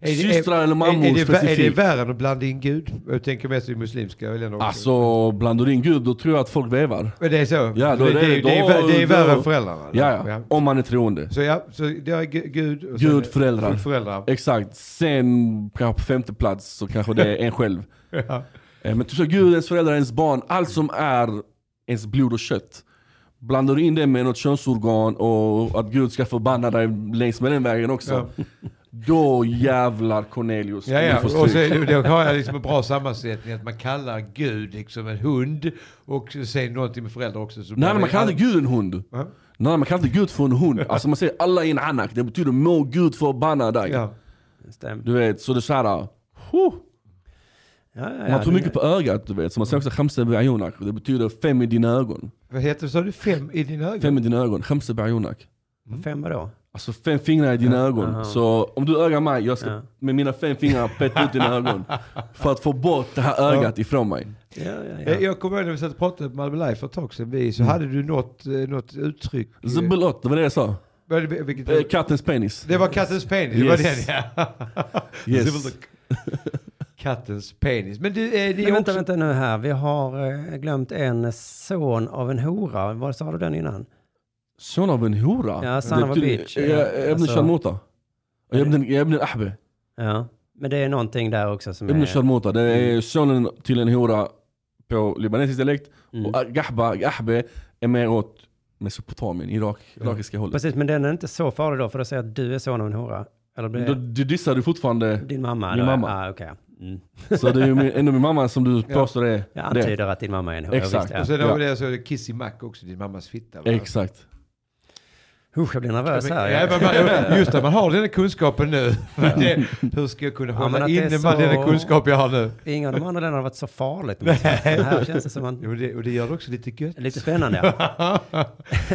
S4: Är det-
S5: systrar eller
S4: är,
S5: mammor
S4: är, det, vä- är det
S5: specifikt.
S4: värre än att blanda in Gud? Jag tänker mest i muslimska länder också.
S5: alltså blandar du in gud, då tror jag att folk vevar.
S4: Men det är så?
S5: Ja, då är det-
S4: det, är- det, är, vä-
S5: då-
S4: det är värre
S5: då-
S4: än föräldrarna?
S5: Ja, ja. Om man är troende.
S4: Så ja, så det är gu- Gud och sen-
S5: Gud, föräldrar.
S4: föräldrar.
S5: Exakt. Sen kanske på femte plats så kanske det är en själv.
S4: Ja.
S5: Eh, Men typ så gud, ens föräldrar, ens barn, allt som är ens blod och kött. Blandar du in det med något könsorgan och att gud ska förbanna dig längs med den vägen också. Då jävlar Cornelius.
S4: Ja,
S5: du
S4: ja.
S5: får
S4: Och så,
S5: stryk.
S4: då har jag liksom en bra sammansättning att man kallar Gud liksom en hund och säger någonting med föräldrar också. Så
S5: Nej, men man kallar inte Gud en hund.
S4: Ja.
S5: Nej, man kallar inte Gud för en hund. Alltså man säger alla i en anak. Det betyder må Gud förbanna dig.
S4: Ja.
S3: Just det.
S5: Du vet, så det är såhär... Huh.
S3: Ja, ja,
S5: Man
S3: ja,
S5: tror
S3: det-
S5: mycket på ögat, du vet. Så man säger också khamsa bi'ayunak. Det betyder fem i dina ögon.
S4: Vad heter det? Sa du fem i dina ögon?
S5: Fem i dina ögon. Khamsa bi'ayunak.
S3: Fem vadå?
S5: Alltså fem fingrar i dina ögon.
S3: aha.
S5: Så om du ögar mig, jag ska
S3: Ja.
S5: med mina fem fingrar peta ut dina ögon. För att få bort det här ögat ifrån mig.
S3: Ja, ja,
S4: Eh,
S3: ja.
S4: Jag kommer ihåg när vi satt och pratade på Malmö Live för ett tag sedan, vi, så
S5: Mm.
S4: hade du något, eh, något uttryck. eh,
S5: Zubbelott, det var det jag sa.
S4: vad är det- vilket-
S5: Eh, Kattens penis.
S4: Det var kattens penis,
S5: Yes.
S4: det var den ja.
S5: Yes.
S4: Zubbelott. kattens penis. Men du, eh, ni
S3: Men
S4: är
S3: vänta,
S4: också...
S3: vänta nu här. Vi har eh, glömt en son av en hora. Vad sa du den innan?
S5: Son av en hora.
S3: Ja, son of a
S5: Det-
S3: bitch.
S5: Eh, Jag
S3: Alltså-
S5: ibn sharmuta. Jag ibn- jag ibn ahbe.
S3: Ja, men det är någonting där också som
S5: Ibn
S3: är...
S5: sharmuta. Det är sonen till en hora på libanesisk dialekt.
S3: Mm.
S5: Och äh, gahba, ahbe är mer åt Mesopotamien, Irak, irakiska hållet.
S3: Precis, men den är inte så farlig då, för då säger jag att du är son av en hora. Eller blir
S5: Då då dissar du fortfarande,
S3: din mamma?
S5: Min
S3: då?
S5: mamma.
S3: Ah, okej. mm.
S5: så det är ju min- ändå min mamma som du påstår är
S3: Jag
S5: det.
S3: antyder att din mamma är en hora.
S5: Exakt.
S3: Visst,
S4: Och
S3: ja.
S4: sen har vi det så är det kissimack också, din mammas fitta. va?
S5: Exakt.
S3: Usch, jag blir nervös
S4: Men-
S3: här.
S4: ja,
S3: Jag-
S4: men man- Just det, man har den här kunskapen nu. Men det, hur ska jag kunna
S3: Ja,
S4: hålla
S3: men att det är
S4: inne med
S3: så-
S4: den här kunskap jag har nu?
S3: Inga av de andra länderna har varit så farligt. Men här känns det som
S4: Jo,
S3: man...
S4: men det, och det gör det också lite gött.
S3: Lite spännande. ja.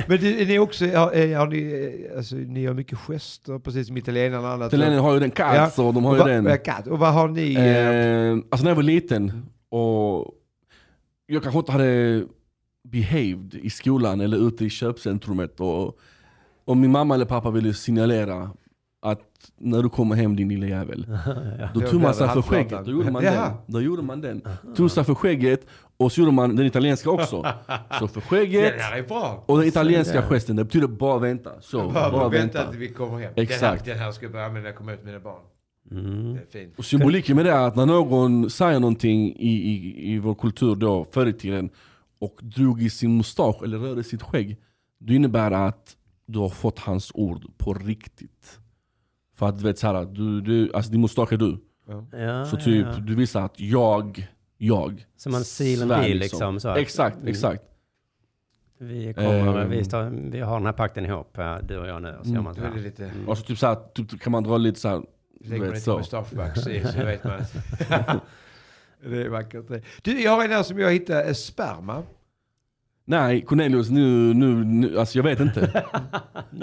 S4: Men du, är ni också, har, eh, har ni, eh, alltså, ni gör mycket gester, precis som italienarna och annat.
S5: Italienarna har ju den Cazzo, och de har ju
S4: och,
S5: den.
S4: vad, katt, och vad har ni? eh,
S5: Eh, alltså när jag var liten och jag kanske inte hade behaved i skolan eller ute i köpcentrumet. Och, och min mamma eller pappa ville signalera att när du kommer hem din lilla jävel. Då
S4: Jag
S5: tog man
S4: blev
S5: sig för
S4: handpratad.
S5: skägget. Då gjorde man
S4: Jaha.
S5: den. Då gjorde man den. Tog sig för skägget och så gjorde man den italienska också. Så för skägget
S4: Den här är bra.
S5: och den italienska gesten. Det betyder bara vänta. Så,
S4: Bara,
S5: bara
S4: vänta
S5: vänta.
S4: att vi kommer hem.
S5: Exakt.
S4: Den här, den här ska jag börja använda när jag kommer ut med mina barn.
S3: Mm.
S4: Det är fint.
S5: Och symboliken med det är att när någon säger någonting i, i, i vår kultur då, förr i tiden, och drog i sin mustasch eller rörde sitt skägg, då innebär det att du har fått hans ord på riktigt. För att du vet såhär, du, du, alltså din mustasch är du.
S3: Ja,
S5: Så
S3: ja,
S5: typ,
S3: ja.
S5: du visar att jag, jag.
S3: Som man seal and
S5: svär
S3: deal liksom. Så här.
S5: Exakt,
S3: Mm.
S5: exakt.
S3: Vi kommer,
S5: Ehm.
S3: vi, tar, vi har den här pakten ihop, eh, du och jag nu. Och så gör man så
S4: Då är det
S3: här.
S4: lite...
S5: Och så typ såhär, typ, kan man dra lite såhär, du
S4: Lägger man
S5: vet
S4: lite
S5: så.
S4: mustaschvax i så vet man. det är vackert det. Du, jag har en här som jag hittade, eh, sperma.
S5: Nej Cornelius, nu, nu, nu alltså jag vet inte.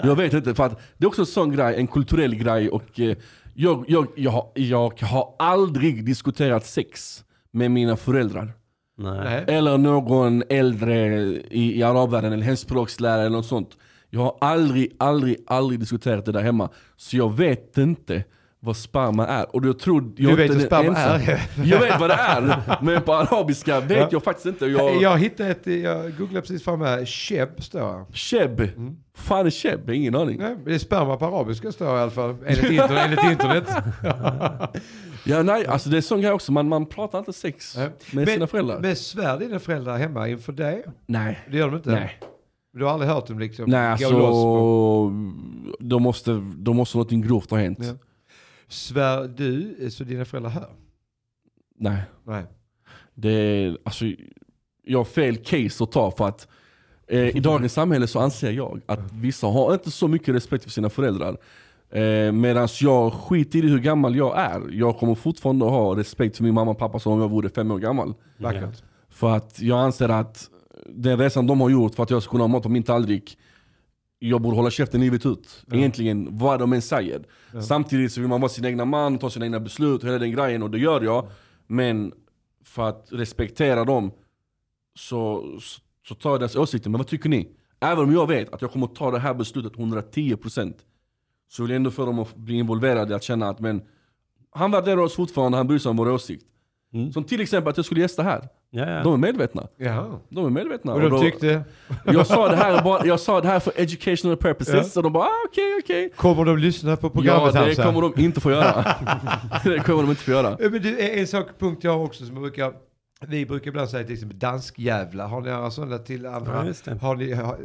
S5: jag vet inte, för att det är också en sån grej, en kulturell grej och eh, jag, jag, jag, har- jag har aldrig diskuterat sex med mina föräldrar.
S3: Nej.
S4: Nej.
S5: Eller någon äldre i, i arabvärlden, eller hemspråkslärare eller något sånt. Jag har aldrig, aldrig, aldrig diskuterat det där hemma. Så jag vet inte vad sperma är. Och jag tror, jag
S4: Du vet
S5: inte
S4: vad
S5: den
S4: sperma
S5: ensam.
S4: är.
S5: Jag vet vad det är, men på arabiska vet
S4: Ja.
S5: jag faktiskt inte.
S4: Eh, Jag,
S5: Jag,
S4: hittade ett, jag googlade precis fram här, Sheb står här.
S5: Sheb.
S4: Mm.
S5: Fan är Sheb? Ingen aning.
S4: Nej, men det är sperma på arabiska står här i alla fall, enligt internet. enligt internet.
S5: Ja, nej, alltså det är sån grej också. Man, man pratar inte sex
S4: Nej.
S5: med sina föräldrar.
S4: Men svär dina föräldrar hemma inför dig?
S5: nej.
S4: Det gör de inte?
S5: Nej,
S4: Du har aldrig hört dem liksom
S5: nej
S4: gå
S5: alltså
S4: loss på...
S5: då måste, då måste någonting grovt ha hänt.
S4: Ja. Svär du eh, så dina föräldrar hör?
S5: Nej,
S4: Nej.
S5: det är, alltså jag har fel case att ta för att eh, i dagens samhälle så anser jag att vissa har inte så mycket respekt för sina föräldrar. Eh, Medan jag skiter i hur gammal jag är. Jag kommer fortfarande ha respekt för min mamma och pappa som om jag vore fem år gammal.
S4: Vackert.
S5: För att jag anser att den resan de har gjort för att jag ska kunna ha mat på min tallrik, jag borde hålla käften livet ut. Egentligen, vad de än säger. Samtidigt så vill man vara sin egna man, ta sina egna beslut och hela den grejen, och det gör jag. Men för att respektera dem så, så, så tar jag deras åsikter. Men vad tycker ni? Även om jag vet att jag kommer att ta det här beslutet 110% så vill jag ändå få dem att bli involverade, i att känna att men, han värderar oss fortfarande, han bryr sig om vår åsikt. Som till exempel att jag skulle gästa här.
S3: Ja, ja.
S5: De är medvetna.
S4: Jaha.
S5: De är medvetna.
S4: Och de
S5: då-
S4: tyckte?
S5: jag, sa det här bara, jag sa det här för educational purposes,
S4: Ja.
S5: så de bara ah, okej okej.
S4: Kommer de lyssna på
S5: Ja,
S4: programmet?
S5: det
S4: Hamza?
S5: kommer de inte få göra. det kommer de inte få göra.
S4: Ja, Men du, en en sak punkt jag har också som jag brukar, vi brukar ibland säga till exempel danskjävlar. Har ni några sådana till
S3: Ja,
S4: andra?
S3: just det.
S4: har ni ha-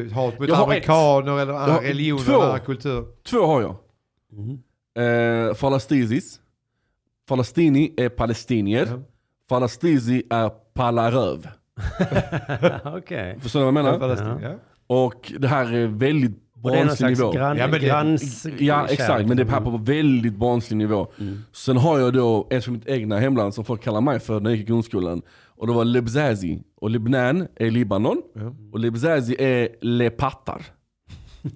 S4: eh, hat mot
S5: Jag har
S4: amerikaner eller
S5: Jag har
S4: andra religioner
S5: två.
S4: eller andra kulturer?
S5: Två har jag.
S4: Mhm.
S3: Mm.
S5: Eh, falastizis. Falastini är palestinier.
S4: Ja.
S5: Falastizi är palaröv.
S3: Okej.
S5: Förstår ni vad jag
S4: Ja.
S5: menar?
S4: Palestina, ja.
S5: Och det här är väldigt
S3: Och det är någon
S5: barnslig
S3: slags
S5: nivå.
S3: grann,
S4: Ja, men det-
S3: granns...
S5: Ja exakt, men det är här på väldigt barnslig nivå.
S3: Mm.
S5: Sen har jag då en från mitt egna hemland som folk kallar mig för när jag gick i grundskolan. Och det var Lebzazi. Och Lebanon är Libanon.
S4: Ja.
S5: Och Lebzazi är lepattar.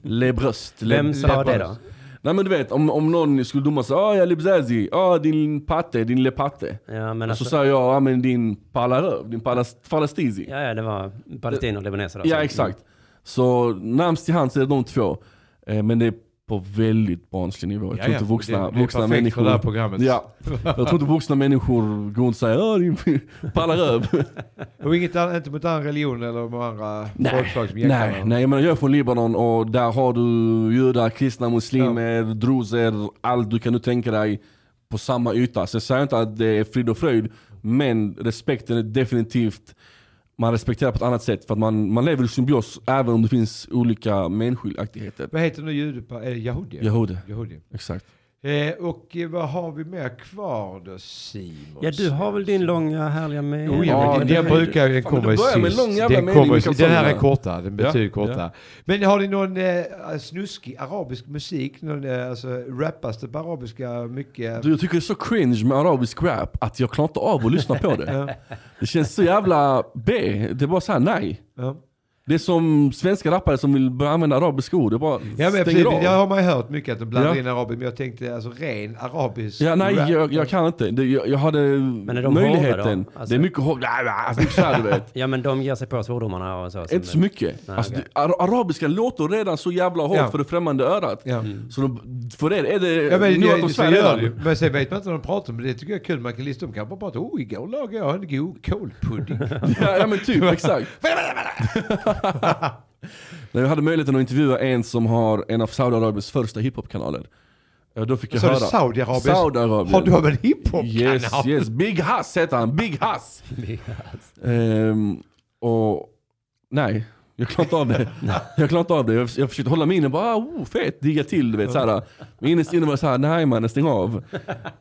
S5: Lebröst. Le-
S3: Vem sa det då?
S5: Nej men du vet, om, om någon skulle doma sig, ah jag är Lebzazi, ah din patte, din lepatte.
S3: Ja, men
S5: Och så
S3: alltså,
S5: sa jag, ah men din palaröv, din palas, falastizi.
S3: ja, ja, det var palestinier och libaneser. då,
S5: Ja
S3: så-
S5: exakt. Alltså, mm. Så närmst till hands är det de två. Eh, Men det är på väldigt barnslig nivå. Jag
S4: Ja,
S5: tror
S4: ja.
S5: inte vuxna,
S4: Det- det är
S5: vuxna
S4: perfekt för
S5: människor...
S4: det här programmet.
S5: Ja. Jag tror inte vuxna människor går runt och säger "Åh, din pallaröv.
S4: Och inget an- inte mot andra religioner eller de andra folkslag som jäklar
S5: nej,
S4: varandra.
S5: nej, men jag är från Libanon och där har du judar, kristna, muslimer, druser, allt du kan nu tänka dig på samma yta. Så jag säger inte att det är frid och fröjd, men respekten är definitivt man respekterar på ett annat sätt för att man, man lever i symbios även om det finns olika människoaktigheter.
S4: Vad heter nu jude? Är det Yahudi?
S5: Jehudi.
S4: Yahudi.
S5: Exakt.
S4: Eh, och eh, vad har vi mer kvar då Simon?
S3: Ja, du har väl din långa härliga med...
S4: Oh, ja,
S5: Ja,
S4: men
S5: det-
S4: den brukar ju, den
S5: Fan, men
S4: kommer ju
S5: det börjar med
S4: sist.
S5: lång jävla
S4: Den,
S5: mening,
S4: kommer, ju
S5: vi kan
S4: sist. den här
S5: ta
S4: är
S5: den.
S4: kortare, den betyder
S5: Ja,
S4: kortare. Men har ni någon eh, snuskig arabisk musik? Någon, eh, alltså, rappas det på arabiska mycket?
S5: Du, jag tycker det är så cringe med arabisk rap att jag klarar inte av att lyssna på det. Det känns så jävla B. Det är bara såhär, nej.
S4: ja.
S5: Det är som svenska rappare som vill börja använda arabiska ord. Det bara
S4: Ja, men
S5: stänger
S4: precis,
S5: av.
S4: det har man ju hört mycket att de blandar
S5: Ja.
S4: in arabisk, men jag tänkte alltså ren arabisk
S5: Ja, nej,
S4: rap.
S5: jag, jag kan inte. Det, jag, jag hade
S3: är de hårda
S5: möjligheten.
S3: då? Alltså-
S5: Det är mycket hår. Nej, nej, alltså, mycket så här, du vet.
S3: Ja, men de ger sig på svordomarna och så.
S5: Inte så mycket.
S3: Nej,
S5: alltså,
S3: okej.
S5: det, ar- arabiska låter redan så jävla hårt
S4: Ja.
S5: för det främmande örat.
S4: Ja.
S5: Så de, för er är det...
S4: Ja, men,
S5: nu
S4: jag,
S5: att de
S4: så
S5: svär
S4: gör
S5: redan.
S4: det ju. men sen vet man inte vad de pratar om, men det tycker jag är kul. Man kan lista, de kan bara prata, oh igår lagade jag en god kålpudding.
S5: Ja, ja men typ, exakt. Nej, jag hade möjligheten att intervjua en som har en av Saudiarabiens första hiphopkanaler. Ja, då fick jag
S4: Så är
S5: höra.
S4: det Saudiarabien.
S5: Saudiarabien.
S4: Har du en hiphop-kanal?
S5: Yes, yes. Big Hass heter han. Big Hass. Ehm, och nej, jag klarade inte av det. jag klarade inte av det. Jag, jag försökte hålla mig inne och bara oh, fet, digga till. Du vet, såhär. Men innerst inne var jag såhär, nej mannen stäng av.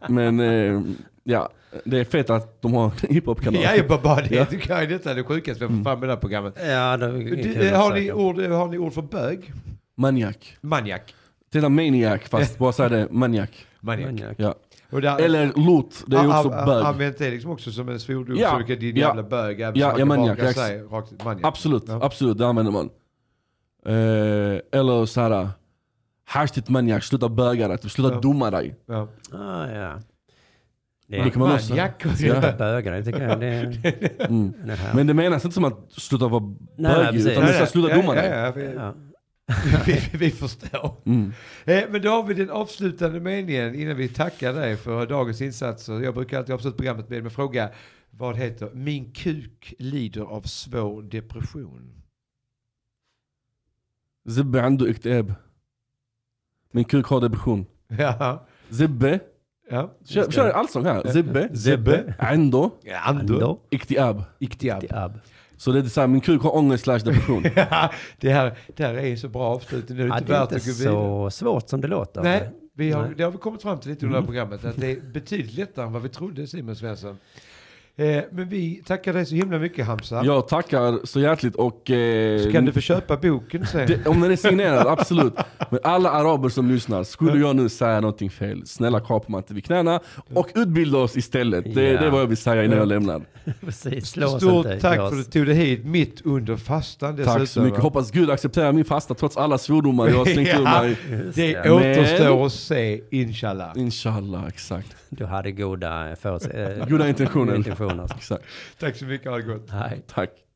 S5: Men ehm, ja, det är fett att de har en hiphop-kanal.
S4: Ja, jag bara, bara det.
S5: Ja.
S4: Du kan ju detta är det sjukaste vi har fått fram med det här programmet.
S3: Ja, det är
S4: Du,
S3: kul att
S4: har, ni
S3: söka.
S4: ord, har ni ord för bög?
S5: Maniac.
S4: Maniack.
S5: Titta maniac, fast bara såhär det, maniac.
S4: Maniack.
S3: Maniac.
S5: Ja.
S4: Och där-
S5: Eller lot, det är ju
S4: Ah,
S5: också
S4: ah, ah,
S5: bög.
S4: Använt det liksom också som en svordom.
S5: Ja,
S4: Så du kan din
S5: ja.
S4: jävla bög. även
S5: Ja,
S4: som man
S5: ja,
S4: kan
S5: maniack,
S4: raka
S5: ex-
S4: sig rakt- maniack.
S5: Absolut,
S4: Ja.
S5: absolut, det använder man. Eh, eller såhär, hash ditt maniac, sluta böga dig, typ, sluta
S4: Ja.
S5: dumma dig.
S4: Ja.
S3: Ah, ja. Det
S5: Då
S3: är
S5: kan man också.
S4: Maniack.
S5: Ja.
S3: bögar, det tycker jag. Det är,
S5: Mm.
S3: det här.
S5: Men det menas inte som att sluta vara
S3: Nej,
S5: bög,
S3: precis.
S5: utan du ska sluta dumma
S4: ja,
S5: dig.
S4: ja, vi,
S3: ja.
S4: vi, vi förstår.
S5: Mm.
S4: Eh, Men då har vi den avslutande meningen innan vi tackar dig för dagens insatser. Jag brukar alltid avsluta programmet med en fråga. Vad heter Min kuk lider av svår depression?
S5: Zibbe عنده اكتئاب. Min kuk har depression.
S4: Ja.
S5: Zibbe,
S4: ja.
S5: kör, kör allsång här. Zibbe,
S4: Zebbe.
S5: عنده
S4: Ando.
S3: Då,
S5: اكتئاب.
S4: Iktiab.
S3: till Ab.
S5: Så det är så här, min kuk har ångest slash depression.
S4: Ja, det, här, det här är så bra avslut. Nu är det
S3: Ja,
S4: inte
S3: det är
S4: värt
S3: inte
S4: att gå
S3: så
S4: vidare.
S3: svårt som det låter.
S4: Nej, vi har,
S3: Nej. Mm.
S4: det har vi kommit fram till lite under det här programmet. Att det är betydligt lättare än vad vi trodde Simon Svensson. Eh, men vi tackar dig så himla mycket Hamza.
S5: Jag tackar så hjärtligt och... Eh,
S4: Så kan du få köpa boken sen.
S5: Det, om den är signerad, absolut. Men alla araber som lyssnar, skulle jag nu säga någonting fel, snälla kapa mig inte vid knäna och utbilda oss istället. Det,
S3: Ja.
S5: det är vad jag vill säga innan jag lämnar.
S3: Precis, slå oss
S4: Stort
S3: inte.
S4: tack
S3: Lars.
S4: för att du tog dig hit mitt under fastan dessutom.
S5: Tack så mycket.
S4: va?
S5: Hoppas Gud accepterar min fasta trots alla svordomar jag har slängt ur
S4: Ja,
S5: mig.
S4: det
S3: det.
S4: återstår att se, inshallah.
S5: Inshallah, exakt.
S3: Du hade goda, förutse- eh,
S5: Goda intentioner.
S3: intentioner.
S5: Exakt.
S4: Tack så mycket, ha det gott.
S3: Nej.
S5: Tack.